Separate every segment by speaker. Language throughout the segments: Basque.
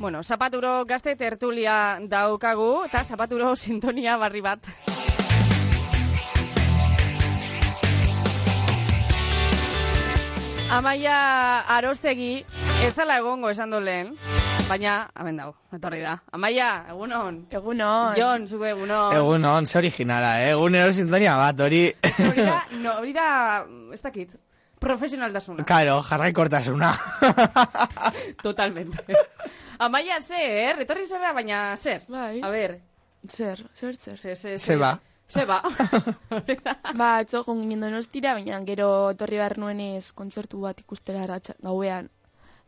Speaker 1: Bueno, zapaturo gazte tertulia daukagu, eta zapaturo sintonia barri bat. Amaia arostegi, ezala egongo esan do lehen, baina, hemen dago, etorri da. Amaia, egunon.
Speaker 2: Egunon.
Speaker 1: Jon, zuke egunon.
Speaker 3: Egun on, ze originala, eh? Egun ero sintonia bat, hori...
Speaker 1: Hori da, no, hori da, ez dakit, profesionaltasuna.
Speaker 3: Karo, jarraikortasuna.
Speaker 1: Totalmente. Amaia, zer, etorri zara, baina zer.
Speaker 2: Bai.
Speaker 1: A ber,
Speaker 2: Zer, zer, zer.
Speaker 1: ze, ze, ze.
Speaker 3: Zeba.
Speaker 1: Zeba.
Speaker 2: Ba, atzogun ginen donostira, baina gero etorri behar nuen ez kontzertu bat ikustera arratsa gauean.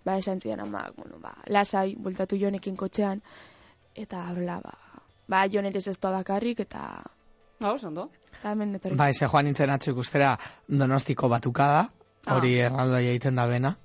Speaker 2: Ba, esan zidan ama, bueno, ba, lasai, bultatu jonekin kotxean, eta horrela, ba, ba jonet ez ez bakarrik, eta,
Speaker 1: Gau, zondo.
Speaker 2: eta hemen etorri.
Speaker 3: bai, ze joan nintzen atzo ikustera donostiko batuka
Speaker 1: Ah.
Speaker 3: hori erraldoia egiten da bena.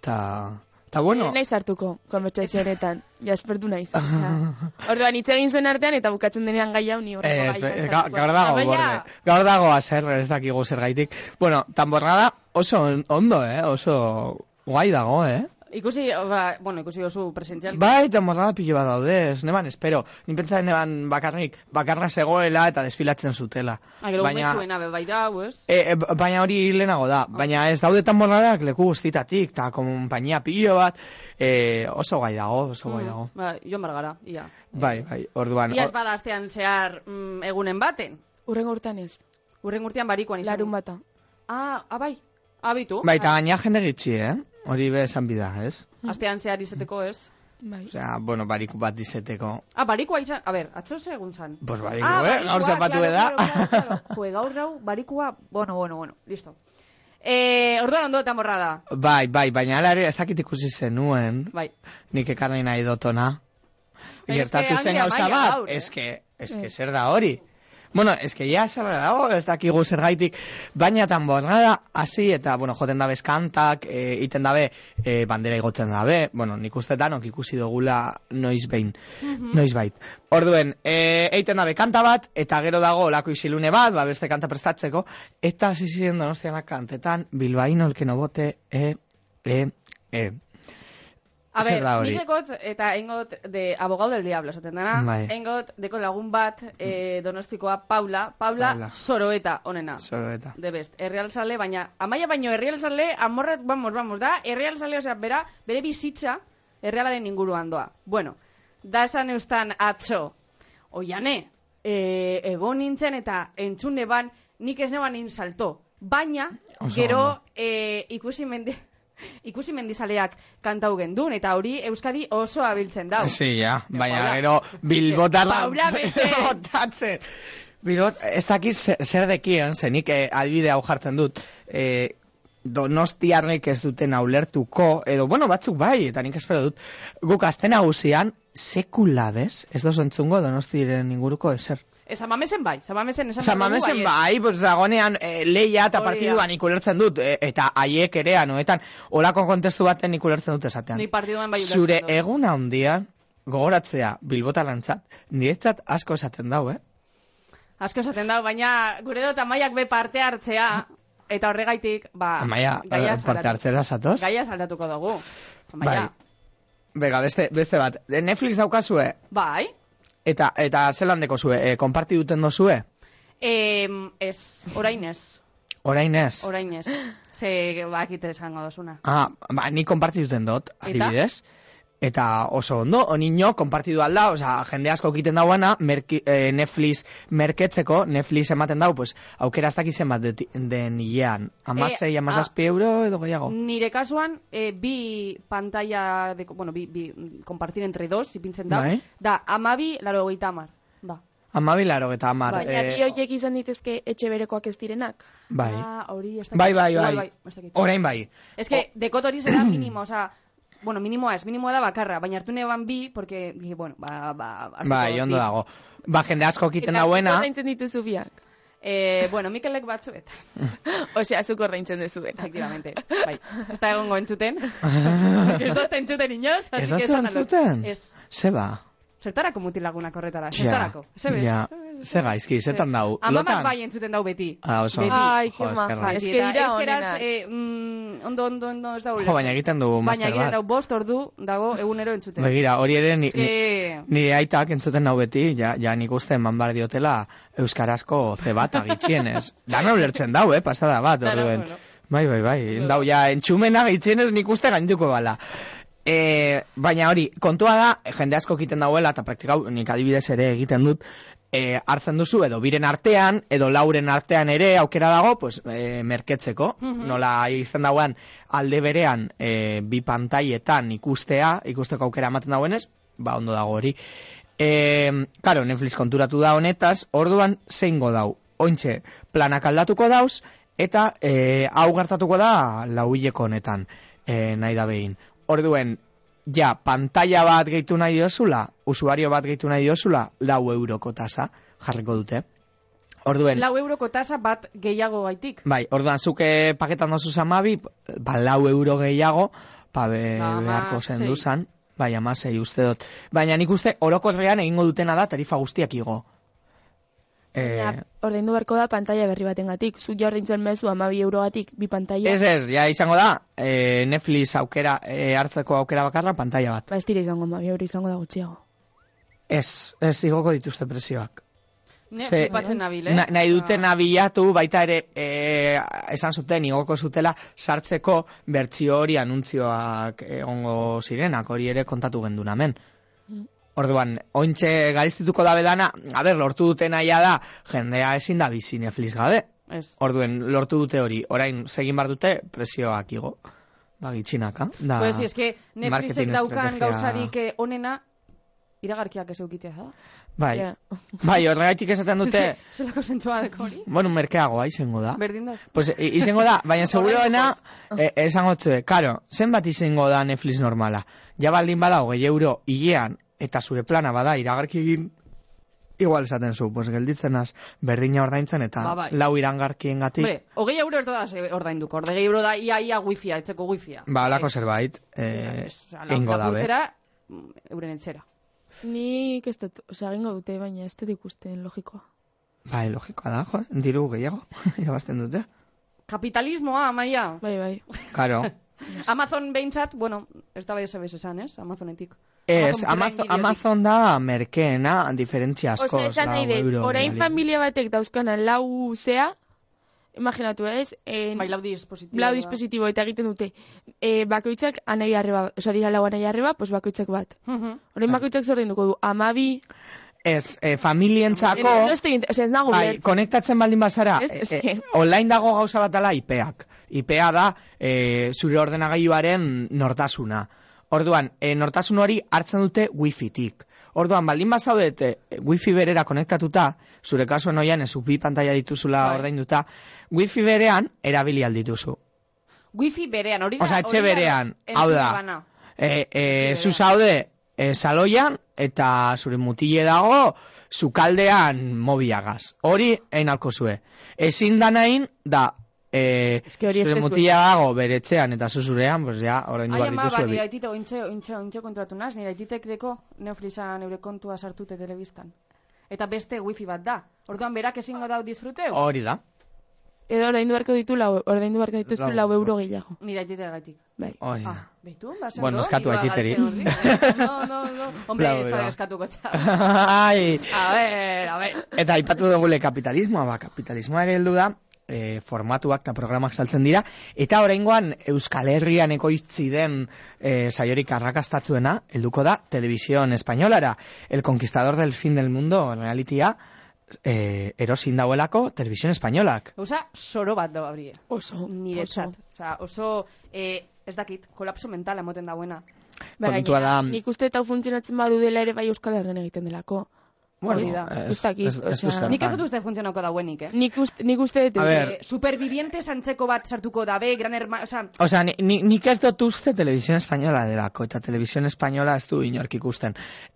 Speaker 3: Ta... Ta bueno,
Speaker 2: Ni naiz hartuko, konbertsazioaretan, jaspertu naiz. osea. Orduan, hitz egin zuen artean, eta bukatzen denean gai hau ni horreko
Speaker 3: Eh,
Speaker 2: gai
Speaker 3: eh,
Speaker 2: izan
Speaker 1: bai.
Speaker 3: ga-
Speaker 2: dut.
Speaker 3: gaur dago
Speaker 1: Baina-
Speaker 3: borde. Gaur dago azer, ez dakigu zergaitik. Bueno, tamborrada oso on- ondo, eh? Oso guai dago, eh?
Speaker 1: Ikusi, ba, bueno, ikusi oso presentzial.
Speaker 3: Bai, tamborrada pilo bat daude, ez neban, espero. Ni pentsa neban bakarrik, bakarra zegoela eta desfilatzen zutela.
Speaker 1: Ah, gero baina... umetxuena, be, bai dau, ez?
Speaker 3: E, e, b- baina hori lehenago da, baina ez daude tamborradak leku guztitatik, eta konpainia pilo bat, e, oso gai dago, oso gai bai dago.
Speaker 1: Ba, joan bargara, ia.
Speaker 3: Bai, bai, orduan.
Speaker 1: Ia ez
Speaker 3: or-
Speaker 1: bada astean zehar mm, egunen baten.
Speaker 2: Urrengo urtean ez,
Speaker 1: Urren urtean barikoan izan.
Speaker 2: larun bata.
Speaker 1: Ah, ah, bai. Abitu.
Speaker 3: Bai, eta gaina jende gitxi, eh? Hori be esan bida, ez?
Speaker 1: Astean zehar izateko, ez?
Speaker 2: Bai.
Speaker 3: Osea, bueno, barik bat dizeteko.
Speaker 1: Ah, barikoa izan... A ber, atzo ze egun zan. Ah,
Speaker 3: Pues bariko, eh? Gaur zapatu
Speaker 1: claro,
Speaker 3: eda.
Speaker 1: claro, claro, claro. Jue, gaur gau, barikua... Bueno, bueno, bueno, listo. Eh, orduan ondo eta morra da.
Speaker 3: Bai, bai, baina ala ere ez dakit ikusi zenuen,
Speaker 1: Bai.
Speaker 3: nik ekarri nahi dotona.
Speaker 1: Baina eske
Speaker 3: Gertatu zen
Speaker 1: Angela
Speaker 3: gauza
Speaker 1: Maia
Speaker 3: bat,
Speaker 1: gaur, eh?
Speaker 3: eske, eske zer da hori. Bueno, eske ja zerra dago, ez dakigu zergaitik, baina tamborrada hasi eta, bueno, joten dabe eskantak, e, iten dabe e, bandera igotzen dabe, bueno, nik uste danok ikusi dugula noiz behin,
Speaker 1: Mhm.
Speaker 3: noiz bait. Orduen, e, eiten dabe kanta bat, eta gero dago lako isilune bat, ba, beste kanta prestatzeko, eta hasi ziren donostianak kantetan, bilbaino elkeno bote, e, e, e.
Speaker 1: A
Speaker 3: Zer
Speaker 1: ber,
Speaker 3: da hori?
Speaker 1: nik ekot eta engot de abogado del diablo, esaten dena.
Speaker 3: Bai. Mm.
Speaker 1: Engot deko lagun bat eh, donostikoa Paula, Paula,
Speaker 3: Paula.
Speaker 1: Soroeta onena.
Speaker 3: Zoro eta.
Speaker 1: De best, errealzale, baina amaia baino errealzale, amorret, vamos, vamos, da, errealzale, osea, bera, bere bizitza errealaren inguruan doa. Bueno, da esan eustan atzo, oiane, e, egon nintzen eta entzune ban, nik ez neban insalto, baina,
Speaker 3: Oso
Speaker 1: gero
Speaker 3: ondo.
Speaker 1: e, ikusi mende, ikusi mendizaleak kantau gendun, eta hori Euskadi oso abiltzen dau.
Speaker 3: Ah, Sí, ja, baina
Speaker 1: Paula.
Speaker 3: gero bilbotarra...
Speaker 1: Paula, bete.
Speaker 3: Botatzen. Bilbot, ez dakit ze- zer dekien, zenik eh, adibide hau jartzen dut, eh, donostiarrek ez duten aulertuko, edo, bueno, batzuk bai, eta nik espero dut, guk aste nagusian, sekula bez, ez dozu entzungo donostiren inguruko ezer.
Speaker 1: E, zamamesen bai, zamamesen esan behar
Speaker 3: San
Speaker 1: dugu
Speaker 3: Mamesen
Speaker 1: baietz.
Speaker 3: bai, pues, dagonean eh, leia eta
Speaker 1: Hori da.
Speaker 3: partiduan ikulertzen dut, eh, eta haiek ere anoetan, olako kontestu baten ikulertzen dut esatean.
Speaker 1: Ni partiduan bai ulertzen
Speaker 3: ba- Zure
Speaker 1: dut.
Speaker 3: egun handian, gogoratzea bilbotarantzat, niretzat asko esaten dau, eh?
Speaker 1: Asko esaten da, baina gure dut amaiak be parte hartzea, eta horregaitik, ba,
Speaker 3: Amaia,
Speaker 1: gaia
Speaker 3: eh, parte hartzera zatoz?
Speaker 1: Gaia saldatuko dugu. Amaia.
Speaker 3: Bega, beste, beste bat, De Netflix daukazue,
Speaker 1: Bai.
Speaker 3: eta, eta zelan dekozue, eh, konparti duten dozue?
Speaker 1: Em, ez, orain ez,
Speaker 3: Orain ez?
Speaker 1: orain ez. Ze, ba, akite esango dozuna.
Speaker 3: Ah, ba, ni konparti duten dut, adibidez. Eta oso ondo, onino, konpartidu alda, osea, jende asko egiten dauana, merki, eh, Netflix merketzeko, Netflix ematen dau, pues, aukera ez dakit zenbat deti- den hilean. Amasei,
Speaker 1: Eh, Mm.
Speaker 3: amazazpi euro edo gehiago.
Speaker 1: Nire kasuan, e, bi pantalla, de, bueno, bi, bi mm, compartir entre dos, ipintzen da.
Speaker 3: Bai.
Speaker 1: Da, amabi, laro hogeita amar. Da.
Speaker 3: Amabi laro eta amar.
Speaker 1: Bai,
Speaker 2: Baina,
Speaker 3: eh,
Speaker 2: bi horiek izan ditezke etxe berekoak ez direnak.
Speaker 3: bai.
Speaker 1: Ah, hori, ez dakit.
Speaker 3: bai, bai,
Speaker 1: Igual
Speaker 3: bai.
Speaker 1: ez dakit.
Speaker 3: Orain bai.
Speaker 1: Es que dekot hori zera minimo, oza, bueno, minimoa ez, minimoa da bakarra, baina hartu neban bi, porque, dije, bueno, ba, ba, hartuko
Speaker 3: Bai, ondo
Speaker 1: bi.
Speaker 3: dago. Ba, jende asko egiten
Speaker 2: Eta zuk
Speaker 3: dauena.
Speaker 2: ordaintzen dituzu biak.
Speaker 1: Eh, bueno, Mikelek batzuet,
Speaker 2: Osea, zuk ordaintzen duzu eta.
Speaker 1: efectivamente, bai. Ez da egongo entzuten. ez dozta entzuten inoz,
Speaker 3: Ez
Speaker 1: así
Speaker 3: da
Speaker 1: que esan alot.
Speaker 3: entzuten?
Speaker 1: Ez,
Speaker 3: Zeba.
Speaker 1: zertarako mutilagunak horretara,
Speaker 3: ba? Ja,
Speaker 1: zertarako. Zebe,
Speaker 3: ja.
Speaker 1: zebe,
Speaker 3: Ze gaizki, zetan dau.
Speaker 1: Ama bat
Speaker 3: Lotan?
Speaker 1: bai entzuten dau beti.
Speaker 3: Ah, oso.
Speaker 1: Beti.
Speaker 2: Ai,
Speaker 3: Jo,
Speaker 2: ke
Speaker 3: eskerrak.
Speaker 2: maja.
Speaker 1: Beti,
Speaker 2: Eske
Speaker 1: eta
Speaker 2: dira
Speaker 1: euskeraz,
Speaker 2: honenak.
Speaker 1: eh, mm, ondo, ondo, ondo, ez da
Speaker 3: Jo, baina egiten du
Speaker 1: Baina
Speaker 3: master
Speaker 1: egiten dau
Speaker 3: bat.
Speaker 1: bost ordu dago egunero entzuten.
Speaker 3: Bai, Begira, hori ere ni,
Speaker 1: Ez que-
Speaker 3: nire aitak entzuten nau beti, ja, ja nik uste eman bar diotela euskarazko zebata gitxienez. Dana ulertzen dau, eh, pasada bat,
Speaker 1: Dana,
Speaker 3: orduen.
Speaker 1: bueno.
Speaker 3: Bai, bai, bai, dau, ja, entxumena gitxienez nik uste gainduko bala. E, baina hori, kontua da, jende asko egiten dauela, eta praktikau, nik adibidez ere egiten dut, e, hartzen duzu, edo biren artean, edo lauren artean ere, aukera dago, pues, e, merketzeko,
Speaker 1: Mhm.
Speaker 3: nola izan dauan, alde berean, e, bi pantailetan ikustea, ikusteko aukera ematen dauenez, ba, ondo dago hori. E, karo, Netflix konturatu da honetaz, orduan zeingo dau. Ointxe, planak aldatuko dauz, eta e, hau gertatuko da lauileko honetan, e, nahi da behin. Orduen, ja, pantalla bat gehitu nahi diozula, usuario bat gehitu nahi diozula, lau euroko tasa jarriko dute. Orduen,
Speaker 1: Lau euroko tasa bat gehiago gaitik.
Speaker 3: bai, orduan zuke paketan dozu zamabi, ba, lau euro gehiago, pa be,
Speaker 1: Ba,
Speaker 3: beharko
Speaker 1: hamasei.
Speaker 3: zendu zan, bai, amasei uste dut. Baina nik uste, orokorrean egingo dutena da tarifa guztiak igo.
Speaker 2: Baina,
Speaker 3: Eh,
Speaker 2: ordaindu beharko da pantalla berri batengatik. Zuk ja ordaintzen mezu 12 eurogatik bi pantalla.
Speaker 3: Ez ez, ja izango da, eh, Netflix aukera, eh, hartzeko aukera bakarra pantalla bat.
Speaker 2: Ba, ez dira izango 12 euro izango da gutxiago.
Speaker 3: Ez, ez igoko dituzte presioak.
Speaker 1: Ne,
Speaker 3: Ze-
Speaker 1: flipatzen nabil, eh?
Speaker 3: Na, nahi dutena bilatu, baita ere, eh, esan zuten, igoko zutela, sartzeko bertsio hori anuntzioak egongo zirenak, hori ere kontatu gendun hemen.
Speaker 1: Mm.
Speaker 3: Orduan, ointxe gaiztituko da bedana, a ber, lortu dutena ja da, jendea ezin da bizi Netflix gabe.
Speaker 1: Ez.
Speaker 3: Orduen, lortu dute hori, orain, segin bar dute, presioak igo. Ba, gitxinaka. Da,
Speaker 1: Pues si es que Netflixek
Speaker 3: marketing
Speaker 1: daukan
Speaker 3: estrategia-
Speaker 1: gauzarik eh, onena iragarkiak ez eukitea da.
Speaker 3: Bai,
Speaker 2: Ja.
Speaker 3: bai, horregaitik esaten dute, Ah.
Speaker 1: Zelako zentzua deko hori?
Speaker 3: bueno, merkeagoa izango da.
Speaker 1: Berdin da.
Speaker 3: Pues i- izango da, baina seguruena eh, esango zue, karo, zenbat izango da Netflix normala? Ja baldin bada, hogei euro hilean, eta zure plana bada iragarki egin, igual esaten zu, pues gelditzen az, berdina ordaintzen eta
Speaker 1: Ba, bai.
Speaker 3: lau irangarkien gatik,
Speaker 1: Hombre, hogei euro ez da ze- ordainduko. Ordegi euro da ia ia wifia, etxeko wifia.
Speaker 3: ba, alako
Speaker 1: Ez.
Speaker 3: zerbait,
Speaker 1: Ja,
Speaker 3: eh,
Speaker 1: ez. Osea, la-
Speaker 3: ingo dabe.
Speaker 1: lapurtzera, mm, euren etxera.
Speaker 2: Nik ez dut, osea, egingo dute, baina ez dut ikusten logikoa.
Speaker 3: Bai, logikoa da, jo, diru gehiago, irabazten dute.
Speaker 1: Kapitalismoa, amaia.
Speaker 2: Bai, bai.
Speaker 3: Karo,
Speaker 1: Ba, Amazon behintzat, bueno, ez da bai ez esan, ez? Amazonetik.
Speaker 3: ez,
Speaker 1: Amazon
Speaker 3: Amazon,
Speaker 1: Prime
Speaker 3: Amazon da merkeena, diferentzia asko.
Speaker 2: Osea, esan nahi dut, orain familia batek dauzkana lau zea, imaginatu ez, en,
Speaker 1: Bai, lau dispositibo.
Speaker 2: lau
Speaker 1: da.
Speaker 2: dispositibo eta egiten dute, e, bakoitzak anai arreba, osea, dira lau anai arreba, pues bakoitzak bat.
Speaker 1: Mhm.
Speaker 3: Ah.
Speaker 2: Orain bakoitzak zer ordainduko du, amabi,
Speaker 3: Ez, eh, familientzako...
Speaker 2: no ez tegin, osea, ez nago
Speaker 3: Bai,
Speaker 2: ulertzen.
Speaker 3: konektatzen baldin bazara,
Speaker 2: Ez, ez
Speaker 3: eh,
Speaker 2: que-
Speaker 3: eh, online dago gauza bat dela IPak. IPa da eh, zure ordenagailuaren nortasuna. Orduan, eh, nortasun hori hartzen dute wifi-tik. Orduan, baldin bazaudete eh, wifi berera konektatuta, zure kasuan oian ez bi pantalla dituzula
Speaker 1: Bai.
Speaker 3: ordainduta, wifi berean erabili aldituzu.
Speaker 1: Wifi berean, hori da.
Speaker 3: Osa, etxe
Speaker 1: hori da
Speaker 3: berean, hau
Speaker 1: entzuna
Speaker 3: da.
Speaker 1: bana.
Speaker 3: E, e,
Speaker 1: berean.
Speaker 3: zu zaude e, saloian eta zure mutile dago sukaldean mobiagaz. Hori einalko zue. Ezin da nahin da e,
Speaker 2: que hori ez
Speaker 3: zure
Speaker 2: tezu
Speaker 3: mutila dago beretzean eta zuzurean, pues ja, orain
Speaker 1: Ai,
Speaker 3: duak
Speaker 1: ama, ba,
Speaker 3: dituzue.
Speaker 1: nire
Speaker 3: bi.
Speaker 1: aitite ointxe, ointxe, ointxe kontratu naz, nire aititek deko neofrisa neure kontua sartute telebistan. Eta beste wifi bat da. Orduan berak ezingo dau disfruteu?
Speaker 3: Hori da.
Speaker 2: Edo ordaindu beharko ditu lau, ordaindu beharko dituztu
Speaker 3: Lau
Speaker 2: lau,
Speaker 3: euro.
Speaker 2: euro gehiago.
Speaker 1: Nire aitite gaitik.
Speaker 2: Bai.
Speaker 3: Hori da.
Speaker 1: Ah, beitu, basen
Speaker 3: Eh. Bueno, eskatu aititeri.
Speaker 1: No, no, no. Hombre,
Speaker 3: Bravo,
Speaker 1: ez da
Speaker 3: bravo.
Speaker 1: eskatuko txar. Ah.
Speaker 3: Ai.
Speaker 1: A ver, a ver.
Speaker 3: Eta aipatu dugu le kapitalismoa, ba, kapitalismoa ere heldu da, e, formatuak eta programak saltzen dira, eta oraingoan Euskal Herrian ekoitzi den e, saiorik arrakastatzuena, helduko da, Televisión Españolara, El Conquistador del Fin del Mundo, realitia, e, erosin dauelako Televisión Españolak.
Speaker 1: Gauza, soro bat da abrie.
Speaker 2: Oso.
Speaker 1: Niretzat. Osa, oso, eh, ez dakit, kolapso mental emoten dauena.
Speaker 3: Kontua da, mm.
Speaker 2: Nik uste eta hau funtzionatzen badu dela ere bai Euskal Herren egiten delako. hori da.
Speaker 3: ez-
Speaker 2: Ez dakit,
Speaker 3: ez- ez
Speaker 2: osea,
Speaker 3: du zertan.
Speaker 1: Nik ez dut uste funtzionako dauenik, eh?
Speaker 2: Nik uste, nik uste dut.
Speaker 3: A ber.
Speaker 1: Eh, Supervivientes antzeko bat sartuko dabe, gran hermano, osa,
Speaker 3: Osa, ni, ni, nik ez dut uste Televisión Española delako, eta Televisión Española ez du inork ikusten.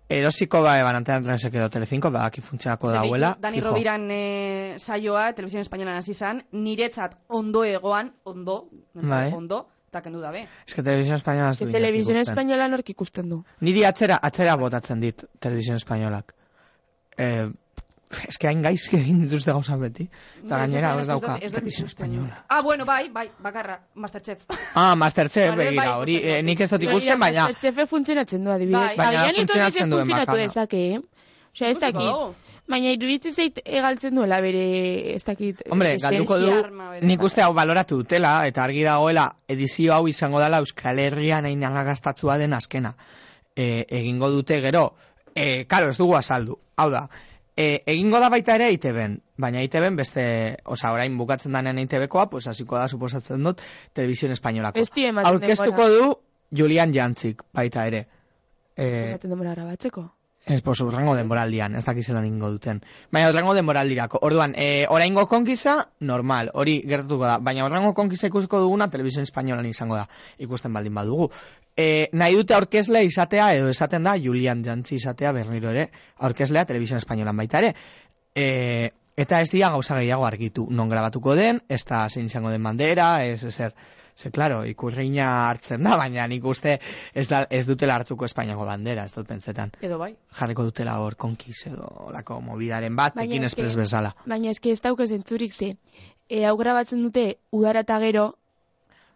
Speaker 3: Erosiko ba, eban antenan transek edo Telecinco, ba, aki funtseako
Speaker 1: Ze
Speaker 3: dauela.
Speaker 1: beitu, Dani
Speaker 3: fijo.
Speaker 1: Robiran eh, saioa, Televisión Española hasi zan, niretzat ondo egoan, ondo,
Speaker 3: Bai.
Speaker 1: ondo, eta kendu dabe.
Speaker 3: Es que televisión española ez du
Speaker 2: Que
Speaker 3: inork
Speaker 2: televisión
Speaker 3: ikusten.
Speaker 2: española nork ikusten du.
Speaker 3: Niri atzera, atzera botatzen dit televisión espainolak. Eh, eske hain gaizki egin dituzte gauza beti.
Speaker 1: Ez,
Speaker 3: Eta gainera,
Speaker 1: ez
Speaker 3: ez
Speaker 1: dut-
Speaker 3: dauka.
Speaker 1: ez dut
Speaker 3: televisión
Speaker 1: ikusten.
Speaker 3: española.
Speaker 1: Ah, bueno, bai, bai, bakarra, Masterchef.
Speaker 3: Ah, Masterchef,
Speaker 1: Vale,
Speaker 3: begira,
Speaker 1: bai,
Speaker 3: hori,
Speaker 1: ikusten
Speaker 3: eh,
Speaker 1: dut.
Speaker 3: nik ez dut ikusten, baina...
Speaker 2: Masterchefe funtzionatzen du adibidez.
Speaker 1: Bai.
Speaker 3: Baina
Speaker 2: Agian
Speaker 3: funtzionatzen
Speaker 2: Etorkizek
Speaker 3: duen
Speaker 2: funtzionatu
Speaker 3: bakana.
Speaker 2: dezake, eh? Osea, ez
Speaker 1: Ikusiko dugu.
Speaker 2: dakit. Baina iruditzen zait egaltzen duela bere, ez dakit... eh,
Speaker 3: Hombre, galduko du,
Speaker 1: esentzia arma bere.
Speaker 3: nik uste hau baloratu dutela, eta argi dagoela, edizio hau izango dela Euskal Herrian hain gastatua den azkena. E, egingo dute gero, e, karo, ez dugu azaldu, hau da, e, egingo da baita ere ITB-en, baina ITB-en beste, oza, orain bukatzen danean ITB-koa, pues hasiko da suposatzen dut, Televisión Españolako.
Speaker 2: Ez die ematen
Speaker 3: Aurkeztuko du Julian Jantzik baita ere. E,
Speaker 2: Zaten demora grabatzeko.
Speaker 3: Ez, pues, urrengo denboraldian, ez dakizela ningo duten. Baina urrengo denboraldirako. Orduan, e, oraingo konkiza, normal, hori gertatuko da. Baina urrengo konkiza ikusiko duguna, televisión espainolan izango da, ikusten baldin badugu. E, nahi dute aurkezle izatea, edo esaten da, Julian Jantzi izatea berriro ere, aurkezlea televisión espainolan baita ere. E, eta ez dira gauza gehiago argitu, non grabatuko den, ez da zein izango den bandera, ez ezer... Ze, claro, ikurriña hartzen da, baina nik uste ez, da, ez dutela hartuko Espainiako bandera, ez dut pentsetan
Speaker 1: Edo bai.
Speaker 3: jarriko dutela hor konkiz edo lako mobidaren bat,
Speaker 2: Baina
Speaker 3: Pekin
Speaker 2: eske-
Speaker 3: Express bezala.
Speaker 2: Baina eski ez dauka zentzurik ze. E, hau grabatzen dute udara eta gero,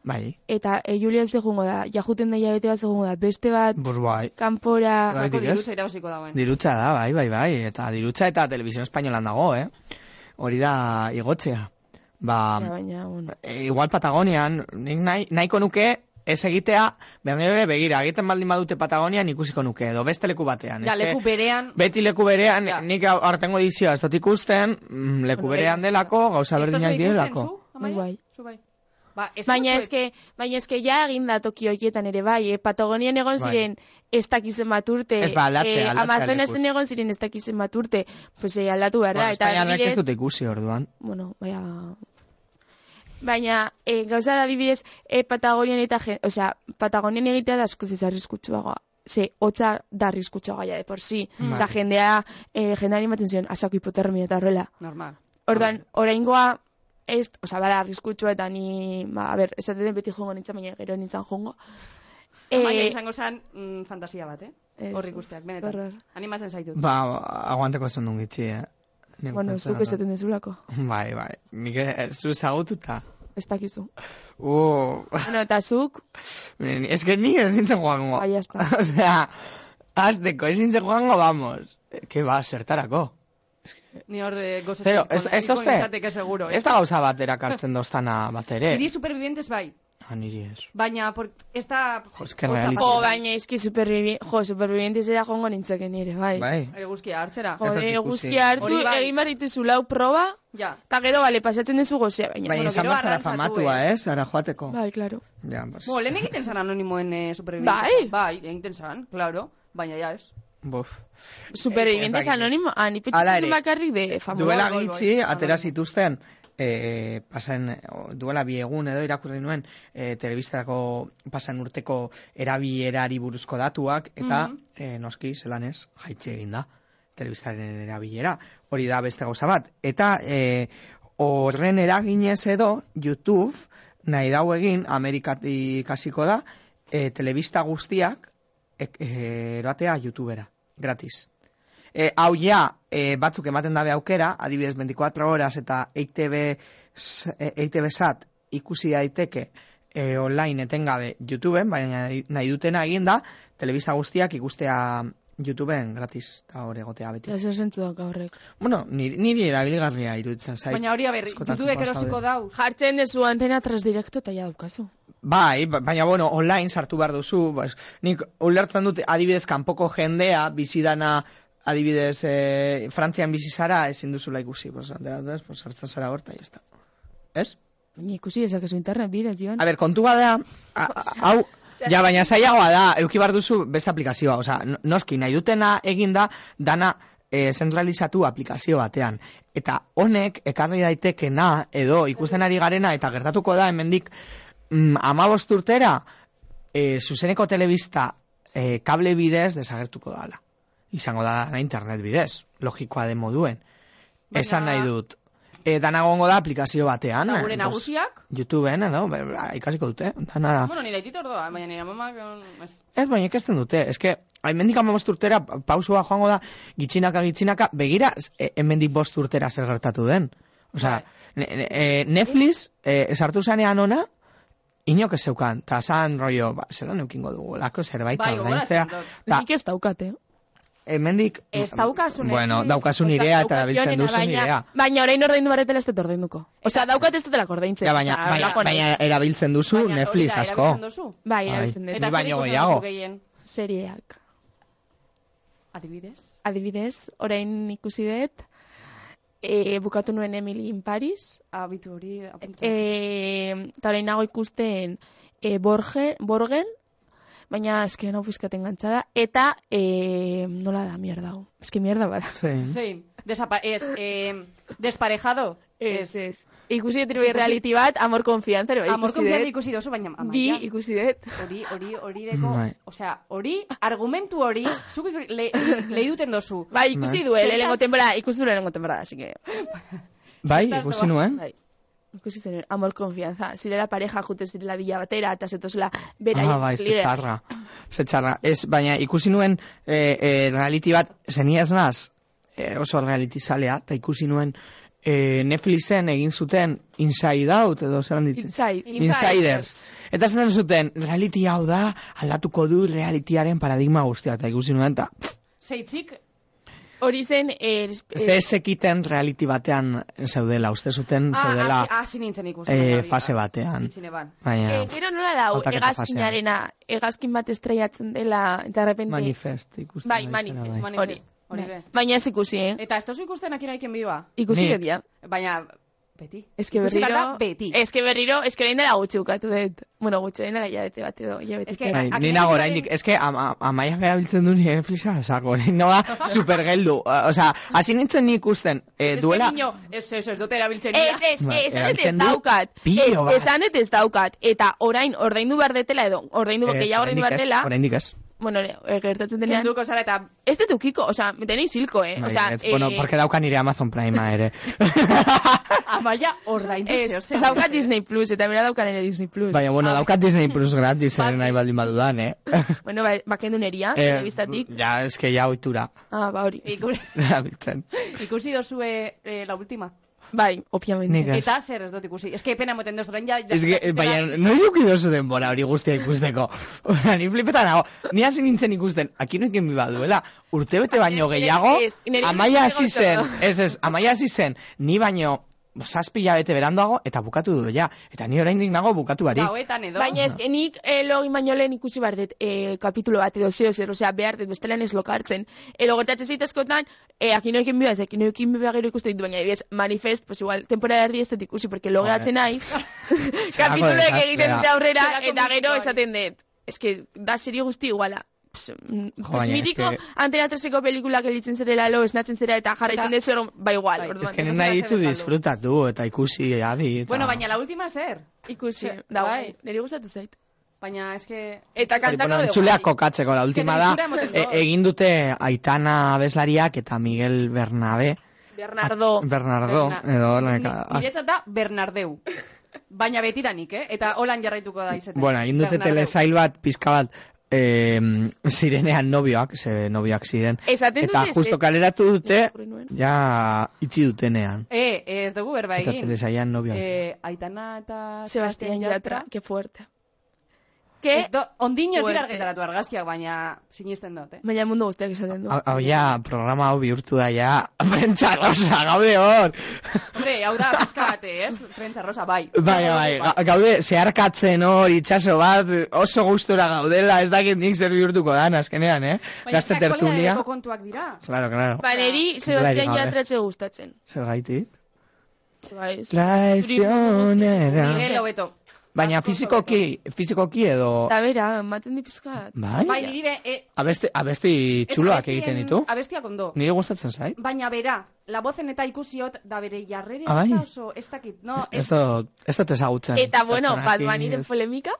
Speaker 3: Bai,
Speaker 2: eta e, Julian ze jungo da, jajuten da hilabete bat ze jungo da, beste bat,
Speaker 3: bus bai.
Speaker 2: kanpora...
Speaker 1: Zako
Speaker 3: Bai. Zergatik ez?
Speaker 1: diruza irabaziko dagoen.
Speaker 3: Dirutza da, bai, bai, bai. Eta dirutza eta televisión espainolan dago, eh? Hori da igotzea. Ba,
Speaker 2: Ja, bai. baina, bueno.
Speaker 3: e, igual Patagonian, nik nahi, nahiko nuke ez egitea, berriro ere begira, egiten baldin badute Patagonian ikusiko nuke, edo beste leku batean.
Speaker 1: Ja,
Speaker 3: Eske-
Speaker 1: leku berean,
Speaker 3: Beti leku berean,
Speaker 1: Ja.
Speaker 3: nik aurtengo edizioa ez dut ikusten, mm, leku
Speaker 2: Bueno,
Speaker 3: berean
Speaker 2: bai,
Speaker 3: delako, gauza
Speaker 1: Esto
Speaker 3: berdinak
Speaker 1: zuk ikusten,
Speaker 3: direlako.
Speaker 1: zu, Amaia?
Speaker 2: Bai, bai.
Speaker 1: Zu bai. Ba, ez
Speaker 2: Baina
Speaker 1: dut zuek-
Speaker 2: eske, baina eske ja egin da toki horietan ere bai, eh? Patagonian egon
Speaker 3: Bai.
Speaker 2: ziren ez dakizen bat urte, eh,
Speaker 3: Ez, ba, aldatzea, aldatzea
Speaker 2: Amazonasen
Speaker 3: lekuz.
Speaker 2: egon ziren ez dakizen bat urte, pues eh, aldatu behar da,
Speaker 3: Bueno,
Speaker 2: eta
Speaker 3: Espainiarrek ez
Speaker 2: adibidez,
Speaker 3: dut ikusi orduan.
Speaker 2: bueno, baina... Baina, eh, gauza da adibidez, eh, Patagonian eta, gen- osea, Patagonian egitea da askoz ez arriskutsuagoa. Ze, hotza da arriskutsuagoa ja, de por si.
Speaker 3: Mm.
Speaker 2: Osea,
Speaker 3: Bai.
Speaker 2: jendea, eh, jendean ematen zion, asako hipotermia eta horrela.
Speaker 1: Normal.
Speaker 2: Orduan,
Speaker 3: Bai.
Speaker 2: oraingoa ez, osea, bada arriskutsua eta ni, ba, a ber, esaten dut beti jongo nintzen, baina gero nintzen jongo.
Speaker 1: Eh, Baina izango zen mm, fantasia bat, eh?
Speaker 2: Ez,
Speaker 1: Hor ikusteak, benetan.
Speaker 2: horror.
Speaker 1: Animatzen zaitut.
Speaker 3: Ba, aguanteko zen duen gitxi, eh? Nik
Speaker 2: bueno,
Speaker 3: pentsatzen
Speaker 2: zuk esaten dezulako,
Speaker 3: dut. Bai, bai. Nik eh, zu zagututa.
Speaker 2: ez dakizu.
Speaker 3: Uh,
Speaker 2: bueno, eta zuk,
Speaker 3: ez que ni ez nintzen joango.
Speaker 2: Bai, ya está.
Speaker 3: Osea, azteko, ez nintzen joango, vamos. Que ba, zertarako.
Speaker 1: Ni hor eh, gozatzen.
Speaker 3: Zero, ez, ez dozte.
Speaker 1: Izateke seguro, eh?
Speaker 3: Ez da gauza batera kartzen doztana bat ere.
Speaker 1: Hiri supervivientes bai,
Speaker 3: Ah, niri ez.
Speaker 1: baina por, ez da...
Speaker 3: Jo, es que
Speaker 1: hotza
Speaker 3: reality-
Speaker 2: jo,
Speaker 1: pasatzen.
Speaker 2: baina izki supervivi, jo, supervivientes era jongo nintzeken nire, bai.
Speaker 3: Bai.
Speaker 1: Eguzkia hartzera.
Speaker 2: Jo,
Speaker 3: Ez dut ikusi.
Speaker 2: eguzkia hartu,
Speaker 1: Hori bai.
Speaker 2: egin behar dituzu lau proba,
Speaker 1: Ja.
Speaker 2: eta gero, bale, pasatzen duzu gozea, baina.
Speaker 3: Baina
Speaker 1: bueno,
Speaker 3: Bai, izan
Speaker 1: gero
Speaker 3: bat zara
Speaker 1: arrantzatu,
Speaker 3: famatua, eh? Zara joateko.
Speaker 2: Bai, claro.
Speaker 3: Ja, pues.
Speaker 1: Bo, lehen egiten zan anonimoen eh, supervivientes. Bai. Bai, egiten zan, claro. Baina ja ez.
Speaker 3: Buf.
Speaker 2: Supervivientes
Speaker 3: dakit.
Speaker 2: anonimo, ah, ni
Speaker 3: Hala
Speaker 2: pentsatzen
Speaker 3: ere.
Speaker 2: dut bakarrik de famoso.
Speaker 3: Duela
Speaker 1: Goi, goi,
Speaker 3: gitxi,
Speaker 1: goi.
Speaker 3: atera
Speaker 1: Anonimo.
Speaker 3: zituzten, e, pasen, o, duela biegun edo irakurri nuen, e, telebistako pasan urteko erabilerari buruzko datuak, eta
Speaker 1: Mhm.
Speaker 3: eh, noski, zelan ez, jaitxe egin da, telebistaren erabilera. Hori da beste gauza bat. Eta e, horren eraginez edo, YouTube, nahi dau egin, Amerikatik hasiko da, e, telebista guztiak, ek- eh, eratea YouTubera, gratis. E, hau ja, e, batzuk ematen dabe aukera, adibidez 24 horas eta E EITB, s- e, EITB sat ikusi daiteke e, online etengabe YouTubeen, baina nahi dutena eginda, telebista guztiak ikustea YouTubeen gratis eta hor egotea beti.
Speaker 2: Eta zer zentzu dauka horrek.
Speaker 3: Bueno, niri, niri erabilgarria iruditzen zait.
Speaker 1: Baina hori, a ber,
Speaker 3: Askotan Ah,
Speaker 1: YouTubek
Speaker 3: pasaude.
Speaker 1: erosiko dauz.
Speaker 2: Jartzen duzu antena tras directo eta ja daukazu.
Speaker 3: Bai, ba- baina bueno, online sartu behar duzu, ba, es- nik ulertzen dut adibidez kanpoko jendea bizidana adibidez e, Frantzian bizi zara ezin duzula ikusi, pues anteratuz, pues sartzen zara horta y ya está. ¿Es?
Speaker 2: Baina ikusi dezakezu internet bidez, Jon.
Speaker 3: A ber, kontu bada, a- a- hau, ja, baina zailagoa da, euki behar duzu beste aplikazioa, osea, no- noski nahi dutena eginda, dana e, zentralizatu aplikazio batean. Eta honek, ekarri daitekena, edo ikusten ari garena, eta gertatuko da, hemendik mm, amabost urtera, e, zuzeneko telebista e, kable bidez desagertuko dala. Izango da dana internet bidez, logikoa den moduen.
Speaker 1: Baina-
Speaker 3: Esan nahi dut. e, dana egongo da aplikazio batean.
Speaker 1: Eta gure
Speaker 3: eh,
Speaker 1: nagusiak?
Speaker 3: entonces, YouTubeen, edo, be- be- ba, ikasiko dute, dana...
Speaker 1: Bueno, nire aitit ordoa, baina nire mamak... mm, Ez.
Speaker 3: Ez, baina ikasten dute, eske, hemendik hamabost urtera pa- pausua joango da, gitxinaka, gitxinaka, begira, z- e, hemendik bost urtera zer gertatu den. Osea, ne, ne, e, Netflix, e, sartu zanean ona, inok ez zeukan, eta zan rollo, ba, zelan eukingo dugu, lako zerbait
Speaker 1: Bai,
Speaker 3: ordaintzea,
Speaker 1: gogoratzen dut.
Speaker 3: eta
Speaker 2: Nik ez eh? daukate.
Speaker 3: hemendik...
Speaker 1: Ez daukazu
Speaker 3: Bueno,
Speaker 1: Netflix.
Speaker 3: daukazu
Speaker 1: Ez da-
Speaker 3: nirea eta
Speaker 1: daukat
Speaker 3: dabiltzen
Speaker 2: Jonena,
Speaker 3: duzu
Speaker 2: baina,
Speaker 3: nirea.
Speaker 2: Baina orain ordaindu baretela ez dut ordainduko. Osea, daukat ez dutela ordaintzen.
Speaker 3: Ja, baina, bai.
Speaker 1: Eta
Speaker 3: baina,
Speaker 1: horrelako
Speaker 3: baina erabiltzen duzu
Speaker 1: Baina
Speaker 3: Netflix
Speaker 1: hori da,
Speaker 3: asko.
Speaker 1: erabiltzen duzu?
Speaker 2: Bai,
Speaker 3: Bai.
Speaker 2: erabiltzen
Speaker 3: Ni
Speaker 2: dut.
Speaker 1: Eta zer
Speaker 3: baino
Speaker 1: ikusten
Speaker 3: gehiago.
Speaker 1: duzu gehien?
Speaker 2: Serieak.
Speaker 1: Adibidez?
Speaker 2: Adibidez, orain ikusi dut, e, bukatu nuen Emily in Paris,
Speaker 1: Abitu hori apuntu.
Speaker 2: e, eta orain nago ikusten e, Borge, Borgen, baina eske hau fizkaten gantzada, eta e, nola da, mierda hau. Eske mierda bada.
Speaker 3: Sí.
Speaker 1: Zein. Desapa ez, eh, desparejado.
Speaker 2: Ikusi dut bai reality bat, amor konfiantza, ere bai
Speaker 1: Amor
Speaker 2: ikusi
Speaker 1: konfiante
Speaker 2: dut.
Speaker 1: ikusi dozu, baina
Speaker 3: Ah,
Speaker 2: Bi
Speaker 1: amaia.
Speaker 2: ikusi dut.
Speaker 1: Hori, hori, hori deko,
Speaker 3: Bai.
Speaker 1: osea, hori, argumentu hori, zuk ikri- le, lehi duten dozu.
Speaker 2: Bai, ikusi
Speaker 3: Bai.
Speaker 2: du, eh, lehenengo temporada, ikusi du lehenengo temporada, así que...
Speaker 3: Bai, ikusi nuen.
Speaker 2: Bai. Ikusi zen, amor konfianza. Zirela pareja, juten zirela bila batera, eta zetozela bera
Speaker 3: Ah, bai, ze txarra. Ze txarra. Ez, baina ikusi nuen e, e, reality bat, zenia ez naz, e, oso reality zalea, eta ikusi nuen e, Netflixen egin zuten Inside Out, edo zelan ditu.
Speaker 2: Inside.
Speaker 3: Insiders. Eta zen zuten, reality hau da, aldatuko du realityaren paradigma guztia, eta ikusi nuen, eta pff,
Speaker 1: Zeitzik,
Speaker 2: Hori zen, eh,
Speaker 3: ze ez ekiten reality batean zeudela, uste zuten zeudela
Speaker 1: ah, hasi nintzen ikusten.
Speaker 3: e,
Speaker 1: hori.
Speaker 3: fase batean.
Speaker 1: Itzine ban.
Speaker 3: Baina,
Speaker 2: Eh, gero nola dau,
Speaker 3: Hautaketa
Speaker 2: hegazkinarena, hegazkin bat estreiatzen dela, eta repente...
Speaker 3: manifest ikusten.
Speaker 2: Bai,
Speaker 3: ari zena,
Speaker 2: manifest,
Speaker 1: bai.
Speaker 2: Hori,
Speaker 1: Hori
Speaker 2: bai.
Speaker 1: be.
Speaker 2: Baina ez ikusi, eh?
Speaker 1: Eta ez dozu ikusten akin aiken biba.
Speaker 2: Ikusi
Speaker 3: Ni-
Speaker 2: dut, ja.
Speaker 1: Baina, beti.
Speaker 2: Ez que
Speaker 1: Ikusi
Speaker 2: berriro...
Speaker 1: behar da beti.
Speaker 2: Ez que berriro, ez que orain dela gutxi ukatu dut. Bueno, gutxi orain dela jabete bat edo, jabete.
Speaker 1: Ez que-
Speaker 3: Bai,
Speaker 1: Ak-
Speaker 3: ni
Speaker 1: ak-
Speaker 3: nago
Speaker 1: ak-
Speaker 3: oraindik, eske ama- amaiak erabiltzen du nire Netflixa, sako, orain noa supergeldu. Osea, hasi nintzen ni ikusten, eh,
Speaker 1: Ez
Speaker 3: duela...
Speaker 1: que, niño, ez, ez, ez, dute erabiltzen.
Speaker 2: Ez, ez,
Speaker 3: Ba,
Speaker 2: eh, esan dut ez
Speaker 3: erabiltzen du
Speaker 2: daukat.
Speaker 3: pilo bat.
Speaker 2: Eh, Esan dut ez daukat. Eta orain, ordaindu behar detela edo, ordaindu,
Speaker 3: Ez,
Speaker 2: gehiago ordaindu
Speaker 3: oraindik
Speaker 2: behar
Speaker 3: ez,
Speaker 2: dela.
Speaker 3: Oraindik ez.
Speaker 2: Bueno, e, e, gertatzen denean.
Speaker 1: Kenduko zara eta
Speaker 2: Ez dut ukiko, osea, denei zilko, eh?
Speaker 3: Bai,
Speaker 2: Osea,
Speaker 3: ez, bueno,
Speaker 2: eh,
Speaker 3: porque dauka nire Amazon Prime ere.
Speaker 1: amaia ordaindu zeo
Speaker 2: ez,
Speaker 1: zeo.
Speaker 2: daukat Disney Plus, eta bera daukan ere Disney Plus.
Speaker 3: Baina, bueno, daukat Disney Plus gratis, ere nahi baldin badudan, eh?
Speaker 2: Bueno, ba, bakendu neria,
Speaker 3: Eh,
Speaker 2: telebistatik.
Speaker 3: Ja, eske ja ohitura
Speaker 2: Ah, ba hori.
Speaker 1: Iku-
Speaker 3: erabiltzen.
Speaker 1: Ikusi dozue eh, la última.
Speaker 2: Bai, obviamente.
Speaker 3: Nik ez.
Speaker 1: Eta zer ez dut ikusi. Ez que pena moten dozu orain ja. ja-
Speaker 3: Ez que, eh, baina, noiz eukidu oso denbora hori guztia ikusteko. Baina, ni flipetan nago. Ni hasi nintzen ikusten, akinoekin biba duela, urtebete baino
Speaker 2: Ez,
Speaker 3: gehiago,
Speaker 2: ez, nire
Speaker 3: amaia
Speaker 2: ikusi
Speaker 3: hasi zen,
Speaker 2: gauza
Speaker 3: ez ez, amaia hasi zen, ni baino, zazpi bete beranduago, eta bukatu du ja. Eta ni oraindik nago bukatu bari.
Speaker 1: Gauetan edo.
Speaker 2: Baina ez, que nik eh, login baino lehen ikusi behar dut eh, kapitulo bat edo zeo zer, osea, behar dut, bestela ez lokartzen. Edo gertatzen zitezkotan, eh, akinoekin biba, ez akinoekin biba gero ikusten ditu, baina ebidez, manifest, pues igual, temporada erdi ez dut ikusi, porque logeatzen naiz, kapituloek
Speaker 3: desastre
Speaker 2: egiten
Speaker 3: da.
Speaker 2: dute aurrera,
Speaker 1: Zelako
Speaker 2: eta gero
Speaker 1: mito hori.
Speaker 2: esaten dut. Ez que, da serie guzti iguala. Pues, mm, pues
Speaker 3: baina ez
Speaker 2: mitiko
Speaker 3: que-
Speaker 2: Antena 3eko pelikulak elitzen zerela lo, esnatzen zera eta jarraitzen
Speaker 1: Da.
Speaker 2: dut zer, ba igual,
Speaker 1: Bai.
Speaker 2: orduan.
Speaker 3: Ez que
Speaker 1: ez
Speaker 3: nik
Speaker 1: da
Speaker 3: nahi
Speaker 1: zer
Speaker 3: ditu
Speaker 1: bezaldu.
Speaker 3: disfrutatu, eta ikusi, adi. Eta...
Speaker 1: Bueno, baina la última zer.
Speaker 2: Ikusi,
Speaker 1: Ze-
Speaker 2: da,
Speaker 1: bai.
Speaker 2: niri gustatu zait.
Speaker 1: Baina ez que...
Speaker 2: Eta
Speaker 3: Hori,
Speaker 2: kantako
Speaker 3: bueno,
Speaker 2: dugu. bai.
Speaker 3: entzuleak kokatzeko, la última da,
Speaker 1: tristura emoten
Speaker 3: e,
Speaker 1: dut.
Speaker 3: egin dute Aitana Abeslariak eta Miguel Bernabe.
Speaker 2: Bernardo.
Speaker 3: Bernardo, edo, Ah.
Speaker 1: Ni-
Speaker 3: horrek, a-
Speaker 1: Niretzat da Bernardeu. Baina betidanik, eh? Eta holan jarraituko da izaten.
Speaker 3: Bueno, egin dute
Speaker 1: Bernardeu.
Speaker 3: telesail bat, pizka bat, eh, zirenean nobioak, ze nobioak ziren.
Speaker 2: Esaten
Speaker 3: Eta
Speaker 2: dute,
Speaker 3: justo
Speaker 2: ez-
Speaker 3: kaleratu dute,
Speaker 2: eh, irakurri nuen.
Speaker 3: ja itxi dutenean.
Speaker 1: Eh, ez dugu berba
Speaker 3: Eta
Speaker 1: egin.
Speaker 3: telesailan nobioak.
Speaker 1: Eh, Aitana eta...
Speaker 2: Ah, Sebastián Yatra, qué fuerte.
Speaker 1: Ez
Speaker 2: Que
Speaker 1: do, ondino ez dira
Speaker 2: Fuerte.
Speaker 1: argitaratu argazkiak, baina sinisten dut, eh?
Speaker 2: baina mundu guztiak esaten du.
Speaker 3: Hau hau ja, programa hau bihurtu da ja, prentsa rosa, gaude hor!
Speaker 1: Hombre, hau da, pizkate, ez? Prentza rosa, bai.
Speaker 3: Bai, bai, ga- gaude, zeharkatzen hor, itxaso bat, oso gustura gaudela, ez dakit nik zer bihurtuko dan, azkenean, eh?
Speaker 1: Baina
Speaker 3: Gazte
Speaker 1: eske
Speaker 3: tertulia.
Speaker 1: aktualitateko kontuak dira.
Speaker 3: Claro, claro.
Speaker 2: Ba, neri
Speaker 3: Dudarik
Speaker 2: Sebastián
Speaker 3: gabe.
Speaker 2: Yatra etxe gustatzen.
Speaker 3: Zer gaitik?
Speaker 2: Ba, ez.
Speaker 3: Traizionera.
Speaker 1: Miguel hobeto.
Speaker 3: Baina fizikoki, fizikoki edo...
Speaker 2: Eta bera, ematen di pizkat.
Speaker 3: Bai,
Speaker 1: Bai, libe... Eh,
Speaker 3: abesti, abesti
Speaker 1: ez
Speaker 3: txuloak
Speaker 1: abestien-
Speaker 3: egiten ditu.
Speaker 1: Abestiak ondo.
Speaker 3: Nire gustatzen zait.
Speaker 1: Baina bera, la vozen eta ikusiot da bere jarrere
Speaker 3: Ah, bai?
Speaker 1: eta oso, ez dakit, no?
Speaker 3: Ez dut, ez dut ezagutzen.
Speaker 2: Eta bueno,
Speaker 3: Pertsonakin,
Speaker 2: Bad Bunnyren
Speaker 3: ez-
Speaker 2: polemika.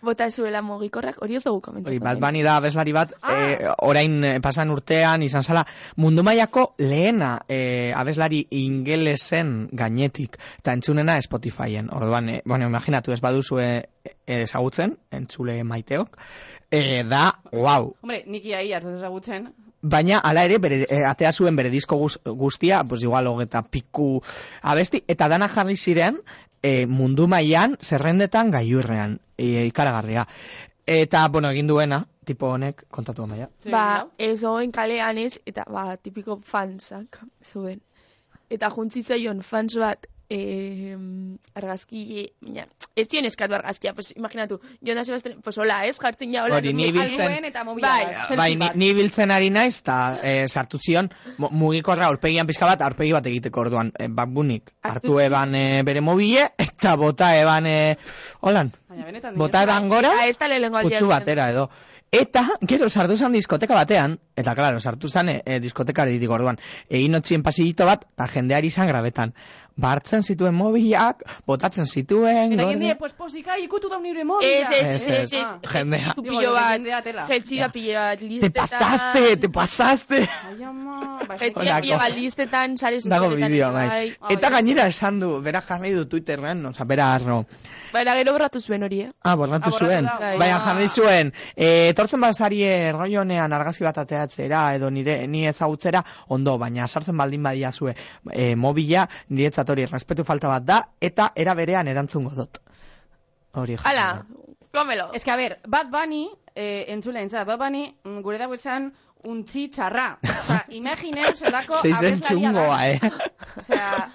Speaker 2: bota zuela mugikorrak, hori ez dugu komentatu.
Speaker 3: Hori, bat bani da abeslari bat,
Speaker 2: Ah.
Speaker 3: eh, orain eh, pasan urtean izan zala, mundu mailako lehena eh, abeslari ingelesen gainetik, eta entzunena Spotifyen. Orduan, eh, bueno, imaginatu ez baduzu eh, ezagutzen, entzule maiteok, eh, da, wow,
Speaker 1: Hombre, niki ahi hartu ezagutzen.
Speaker 3: baina hala ere bere, eh, atea zuen bere disko guz- guztia, pues igual hogeta piku abesti, eta dana jarri ziren eh, mundu mailan zerrendetan gailurrean, eh, ikaragarria. Eta, bueno, egin duena, tipo honek, kontatu maia.
Speaker 1: Zer egin
Speaker 2: ba,
Speaker 1: dau?
Speaker 2: ez oen kalean ez, eta ba, tipiko fansak zeuden. Eta juntzitzaion fans bat, eh, argazki, baina, ez zion eskatu argazkia, pues, imaginatu, Jonas Sebastian, pues, hola, ez, jartzen ja, hola,
Speaker 3: Hori, ni
Speaker 2: sé,
Speaker 3: biltzen-
Speaker 2: alguen eta mobila
Speaker 1: Bai,
Speaker 2: bat,
Speaker 1: selfie
Speaker 3: Bai, ni,
Speaker 2: bat.
Speaker 3: ni biltzen ari naiz, eta eh, sartu zion, mu- mugikorra aurpegian pizka bat, aurpegi bat egiteko orduan, eh, bakbunik,
Speaker 2: Hartu
Speaker 3: hartu eban eh, bere mobile, eta bota eban, eh, holan,
Speaker 1: Baina benetan.
Speaker 3: bota eban gora,
Speaker 2: Ah, ez da lehenengo aldia.
Speaker 3: Kutsu batera edo. Eta, gero, sartu zan diskoteka batean, eta, claro, sartu zan e, e, diskoteka ditik orduan, egin otzien pasillito bat, eta jendeari izan grabetan. Bartzen zituen mobilak, botatzen zituen,
Speaker 1: Eta
Speaker 3: gorri-
Speaker 1: jende, pues posika, ikutu da nire
Speaker 2: Ez,
Speaker 1: mobila.
Speaker 2: ez,
Speaker 3: eh? Ez,
Speaker 2: ez, ez,
Speaker 3: ez,
Speaker 2: ez.
Speaker 1: Ah.
Speaker 3: jendea.
Speaker 2: Zu
Speaker 1: Digo,
Speaker 2: pilo
Speaker 1: jendea tela.
Speaker 2: bat, jetxia pilo bat,
Speaker 3: Te
Speaker 2: listetan.
Speaker 3: pasaste, te pasaste.
Speaker 1: Ai, ama. Ba, ez
Speaker 2: Jetxia
Speaker 1: dakit.
Speaker 2: pilo
Speaker 3: Honako.
Speaker 2: bat, listetan, sare
Speaker 3: Dago
Speaker 2: sozialetan
Speaker 3: bideoa,
Speaker 2: ere
Speaker 3: bai.
Speaker 1: bai.
Speaker 3: Eta gainera esan du, bera jarri du Twitterren, oza, bera arno.
Speaker 2: Baina gero borratu zuen hori, eh?
Speaker 3: Ah, borratu
Speaker 1: Ah, borratu
Speaker 3: zuen.
Speaker 1: da,
Speaker 2: bai.
Speaker 3: Baina
Speaker 2: Ah.
Speaker 3: jarri zuen, e, etortzen bazarie rollo honean argazki bat ateatzera edo nire ni ezagutzera ondo, baina sartzen baldin badiazue e, mobila niretzat hori respetu falta bat da eta era berean erantzungo dut. Hori jarri
Speaker 2: Hala,
Speaker 3: da.
Speaker 2: komelo.
Speaker 1: Ez que, a ber, Bad Bunny, eh, entzule entzat, Bad Bunny, mm, gure dago esan, untzi txarra. Osa, imagineu zelako
Speaker 3: Zeiz
Speaker 1: abeslaria
Speaker 3: entzungoa,
Speaker 1: dan.
Speaker 3: eh?
Speaker 1: Osea,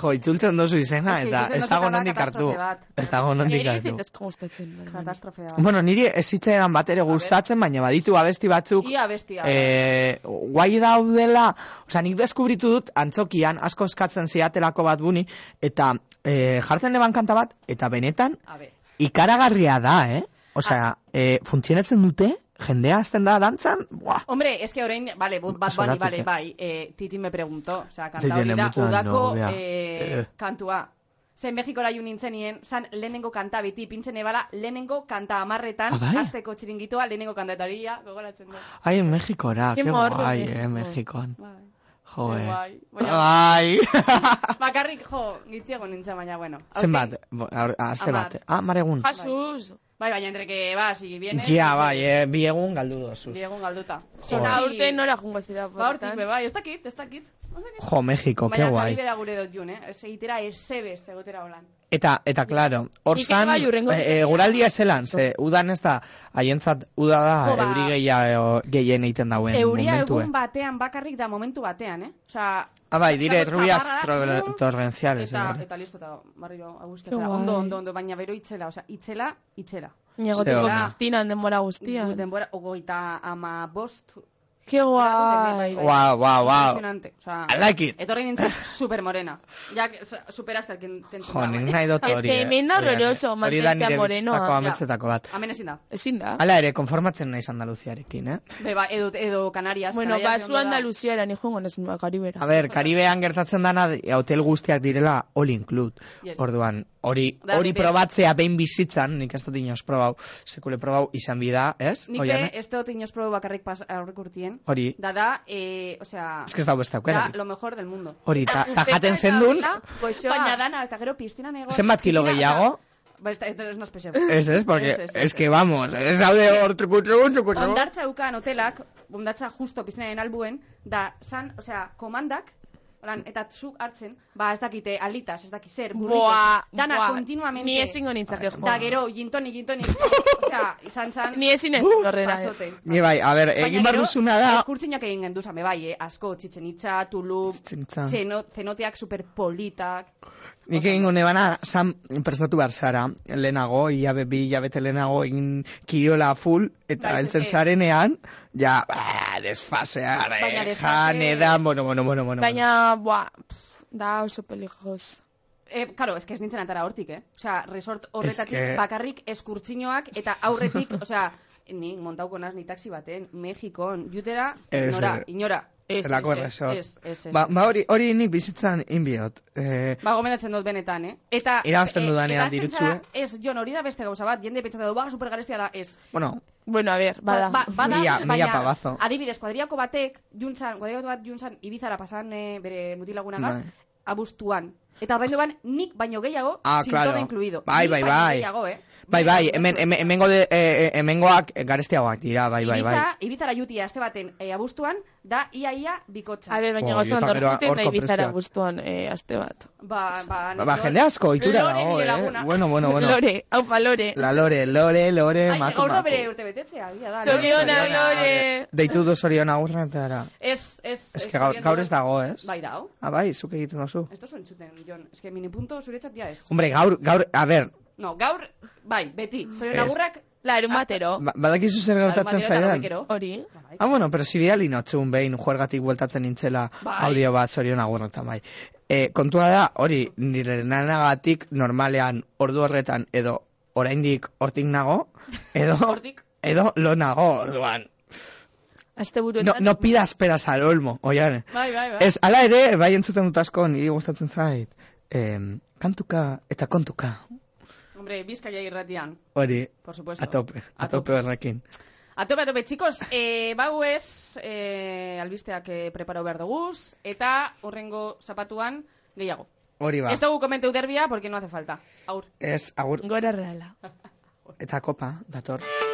Speaker 3: Jo, itzultzen duzu izena
Speaker 1: Ez que
Speaker 3: eta
Speaker 1: itzultzen
Speaker 3: ez
Speaker 1: duzu
Speaker 3: dago
Speaker 1: eta da
Speaker 3: nondik hartu.
Speaker 1: katastrofe bat.
Speaker 3: Ez dago nondik
Speaker 2: Nire
Speaker 3: hartu.
Speaker 2: ez gustatzen. baina.
Speaker 1: katastrofea. bat.
Speaker 3: Bueno, niri ez zitzaidan bat ere gustatzen, baina baditu abesti batzuk
Speaker 1: Ia bestia.
Speaker 3: Eh, guai daudela, osea, nik deskubritu dut antzokian asko eskatzen ziatelako bat buni, eta eh, jartzen eban kanta bat, eta benetan
Speaker 1: A ber.
Speaker 3: ikaragarria da, eh? Osea, eh, funtzionatzen dute, jendea azten da dantzan, buah.
Speaker 1: Hombre, es que orain, vale, bu- Bad Bunny,
Speaker 3: Sonatu,
Speaker 1: vale,
Speaker 3: ja.
Speaker 1: bai, eh, Titi me preguntó, o sea,
Speaker 3: Se
Speaker 1: kanta hori
Speaker 3: viene
Speaker 1: da,
Speaker 3: mucho
Speaker 1: udako
Speaker 3: novia.
Speaker 1: eh,
Speaker 3: Eh.
Speaker 1: kantua. Zen Mexikora ju nintzenien, san lehenengo kanta beti, pintzen ebala, lehenengo kanta amarretan,
Speaker 3: Ah, bai?
Speaker 1: azteko txiringitoa, lehenengo kanta eta hori ia, gogoratzen dut.
Speaker 3: Ai, Mexikora,
Speaker 2: Ke
Speaker 3: que
Speaker 2: morro,
Speaker 3: guai, eh,
Speaker 2: Mexiko.
Speaker 3: Mexikoan.
Speaker 1: Bai.
Speaker 3: Jo,
Speaker 1: Ke
Speaker 3: eh.
Speaker 1: guai.
Speaker 3: Ai.
Speaker 1: Bakarrik, jo, gitxiago nintzen baina, bueno.
Speaker 3: Zenbat, Bo- aur- aste
Speaker 1: Hamar.
Speaker 3: bat. Ah, maregun.
Speaker 2: Jasuz.
Speaker 1: Bai, baina entre que vas y vienes.
Speaker 3: Ja, bai, eh, bi egun galdu dozuz.
Speaker 1: Diegon galduta.
Speaker 3: Jo.
Speaker 2: Eta
Speaker 3: Bai.
Speaker 2: Ah, urte nora jungo zera.
Speaker 1: Ba, hortik,
Speaker 2: horretan?
Speaker 1: be, bai, ez dakit, ez dakit. Ez dakit.
Speaker 3: Jo, Mexiko, que
Speaker 1: Baina
Speaker 3: guai.
Speaker 1: kalibera gure dut jun, eh? Ez egitera esebez egotera holan.
Speaker 3: Eta, eta, claro, hor
Speaker 2: Nik
Speaker 3: zan,
Speaker 2: ere bai hurrengo
Speaker 3: e, e, guraldia zelan, ze, udan ez da, haientzat, uda da,
Speaker 1: Jo, ba.
Speaker 3: euri gehia, e, gehien egiten dauen
Speaker 1: Euria
Speaker 3: momentu, eh.
Speaker 1: egun ba- batean bakarrik da momentu batean, eh? Osa...
Speaker 3: Ah, bai, dire,
Speaker 1: Zaparradak,
Speaker 3: rubias
Speaker 1: bum,
Speaker 3: tro- torrenciales.
Speaker 1: Eta,
Speaker 3: eh.
Speaker 1: eta listo, eta barriro
Speaker 2: Ke
Speaker 1: aguzketara.
Speaker 2: guai.
Speaker 1: Ondo, ondo, ondo, baina bero itzela, osa, itzela, itzela.
Speaker 3: Ze
Speaker 2: Negotiko
Speaker 3: ona.
Speaker 2: Kristinan denbora guztia.
Speaker 1: Denbora, ogoita ama bost.
Speaker 2: Ke
Speaker 1: Bai, bai.
Speaker 2: guai.
Speaker 3: Wow, wow, wow.
Speaker 1: Impresionante. Osa,
Speaker 3: I like it.
Speaker 1: etorri nintzen super morena. Ja, super askarkin tentu.
Speaker 3: Jo, nik nahi dut
Speaker 2: Ez
Speaker 3: hori.
Speaker 2: que
Speaker 3: eh.
Speaker 2: hemen da
Speaker 3: Hori da
Speaker 2: horroroso,
Speaker 3: nire- Hori da
Speaker 2: mantentzea
Speaker 3: nire
Speaker 2: morenoa.
Speaker 3: bizitzako
Speaker 2: Ja.
Speaker 3: ametsetako bat.
Speaker 1: Hemen ezin da.
Speaker 2: Ezin da.
Speaker 3: Hala ere, konformatzen naiz Andaluziarekin, eh?
Speaker 1: Be, ba, edo, edo Canarias.
Speaker 2: Bueno,
Speaker 1: Canarias
Speaker 2: basu
Speaker 1: ondo da.
Speaker 2: Andaluziara ni joango nesen bak
Speaker 3: A
Speaker 2: Karibera.
Speaker 3: ber, Karibean gertatzen dana hotel guztiak direla all include.
Speaker 1: Yes.
Speaker 3: Orduan, hori
Speaker 1: Da,
Speaker 3: hori
Speaker 1: beste.
Speaker 3: probatzea behin bizitzan, nik ez dut inoz probau, sekule probau izan bida, ez?
Speaker 1: Nik
Speaker 3: Oian,
Speaker 1: be,
Speaker 3: eh?
Speaker 1: ez dut inoz probu bakarrik pas, aurrik urtien.
Speaker 3: Hori.
Speaker 1: Da da, eh, o sea,
Speaker 3: Ez que ez dago beste
Speaker 1: da
Speaker 3: aukerarik.
Speaker 1: lo mejor del mundo.
Speaker 3: Hori, ta, ta jaten zendun,
Speaker 2: goxoa.
Speaker 1: Baina dana, eta gero piztina nego.
Speaker 3: zenbat kilo
Speaker 1: piztina,
Speaker 3: gehiago? Eh.
Speaker 1: oza, Ba, ez da, ez da, ez nos pese.
Speaker 3: Ez ez, porque
Speaker 1: Ez, ez, ez,
Speaker 3: es que vamos, ez haude hor truku truku truku truku.
Speaker 1: Ondartza eukan hotelak, ondartza justo piztinaren albuen, da, san, o sea, komandak, Holan, eta zuk hartzen, ba, ez dakite, alitas, ez dakit zer, burritos,
Speaker 2: Boa,
Speaker 1: dana
Speaker 2: boa.
Speaker 1: kontinuamente.
Speaker 2: Ni ezingo nintzake joan.
Speaker 1: Da, gero, gintoni, gintoni, o sea, izan zan,
Speaker 2: Ni ezin ezin horrena. ez.
Speaker 1: Uh, pasote.
Speaker 3: Ni bai, a ber, egin
Speaker 1: Baina
Speaker 3: behar
Speaker 1: gero,
Speaker 3: duzuna da...
Speaker 1: Eskurtzinak egin gendu zame bai, eh? asko, txitzen itxa, tulu,
Speaker 3: Txitzenitza.
Speaker 1: zeno, zenoteak superpolitak.
Speaker 3: Nik egingo nebana, san prestatu behar zara, lehenago, iabe bi, iabete lehenago, egin kiriola full, eta
Speaker 1: Bai,
Speaker 3: heltzen
Speaker 1: ez-
Speaker 3: zarenean, ja, ba, desfasea,
Speaker 1: Baina desfase-
Speaker 3: jan, edan, bueno, bueno, bueno, bueno.
Speaker 2: Baina, buah, pff, da oso peligroz.
Speaker 1: Eh, claro, eske ez nintzen atara hortik, eh? Osea, resort horretatik
Speaker 3: Eske-
Speaker 1: bakarrik eskurtzinoak eta aurretik, osea, ni montauko naz ni taxi baten, Mexikon, jutera,
Speaker 3: Ez,
Speaker 1: inora,
Speaker 3: eh.
Speaker 1: inora. Ez,
Speaker 3: zelako
Speaker 1: ez,
Speaker 3: erresort.
Speaker 1: ez, ez, ez.
Speaker 3: Ba, ba hori, hori nik bizitzan inbiot. Eh,
Speaker 1: Ba, gomendatzen dut benetan, eh? Eta...
Speaker 4: Irabazten
Speaker 1: e-
Speaker 4: dudanean
Speaker 1: eta ez
Speaker 4: dirutzu,
Speaker 1: pentsara, Ez, Jon, hori da beste gauza bat, jende pentsatzen du, ba, supergarestia da, ez.
Speaker 3: bueno,
Speaker 2: Bueno, a ber, bada.
Speaker 1: Ba, ba- bada,
Speaker 3: Mila-
Speaker 1: baina,
Speaker 3: mila pabazo.
Speaker 1: adibidez, kuadriako batek, juntzan, kuadriako bat juntzan, ibizara pasan eh, bere mutilagunagaz,
Speaker 3: Bai.
Speaker 1: abuztuan. Eta ordaindu ban, nik baino gehiago,
Speaker 3: Ah,
Speaker 1: sin
Speaker 3: claro.
Speaker 1: todo incluido.
Speaker 3: Bai,
Speaker 1: Nik
Speaker 3: bai,
Speaker 1: baino
Speaker 3: bai.
Speaker 1: Gehiago, eh?
Speaker 3: bai, bai, hemen, hemen, hemengo de, eh, hemengoak garestiagoak dira, bai, bai, bai.
Speaker 1: Ibiza, Ibizara jutia aste baten e, abuztuan, da iaia bikotxa.
Speaker 2: A ber, baina
Speaker 3: Jo,
Speaker 2: gauza
Speaker 3: eta
Speaker 2: ondo
Speaker 3: gero
Speaker 2: juten da
Speaker 3: horko
Speaker 2: ibizara
Speaker 3: prezioak.
Speaker 2: guztuan eh, aste bat.
Speaker 1: Ba, ba,
Speaker 3: Ba, ba, jende asko, ohitura
Speaker 1: Lore
Speaker 3: dago,
Speaker 1: nire
Speaker 3: eh?
Speaker 1: laguna.
Speaker 3: Bueno, eh, bueno, bueno.
Speaker 2: Lore, haupa lore.
Speaker 3: La lore, lore, lore,
Speaker 1: Ai,
Speaker 3: maku,
Speaker 1: gaur da
Speaker 3: maku.
Speaker 1: bere urte betetzea, egia da.
Speaker 2: Zorionak,
Speaker 1: Zorionak,
Speaker 2: Lore.
Speaker 3: Deitu du zoriona urrenetara.
Speaker 1: Ez, ez.
Speaker 3: Ez que gaur, gaur ez dago, ez?
Speaker 1: Eh, Bai dago.
Speaker 3: Ah, bai, zuk egiten duzu.
Speaker 1: Ez tozu entzuten, Jon. Ez que minipunto zuretzat ja ez.
Speaker 3: Hombre, gaur, gaur, a ber,
Speaker 1: No, gaur, bai, beti. Zorion
Speaker 3: Ez.
Speaker 1: agurrak...
Speaker 2: Larun
Speaker 1: Oh.
Speaker 2: batero.
Speaker 3: ba- badakizu zer gertatzen
Speaker 1: larunbatean eta
Speaker 3: zaidan?
Speaker 1: gauekero.
Speaker 2: Hori.
Speaker 1: Bai.
Speaker 3: Ah, bueno, pero ziriali notzun behin juergatik bueltatzen nintzela
Speaker 1: Bai.
Speaker 3: audio bat zorion agurretan bai. E, kontua da, hori, nire nanagatik normalean ordu horretan edo oraindik hortik nago, edo,
Speaker 1: Hortik?
Speaker 3: edo lo nago orduan.
Speaker 2: Aste
Speaker 3: No, no pidas peras al olmo, oian.
Speaker 1: Bai, bai, bai.
Speaker 3: Ez, ala ere, bai entzuten dut asko, niri gustatzen zait. Em, kantuka eta kontuka,
Speaker 1: Hombre, bizkaia irratian,
Speaker 3: hori,
Speaker 1: por supuesto.
Speaker 3: a tope, a
Speaker 1: A tope.
Speaker 3: tope horrekin.
Speaker 1: A tope, a tope, chicos, eh, bau ez, eh, albisteak eh, preparo behar duguz, eta horrengo zapatuan gehiago.
Speaker 3: Hori ba,
Speaker 1: Ez dugu komenteu derbia, porque no hace falta. Aur.
Speaker 3: ez, agur,
Speaker 2: Gora reala.
Speaker 3: eta kopa, dator.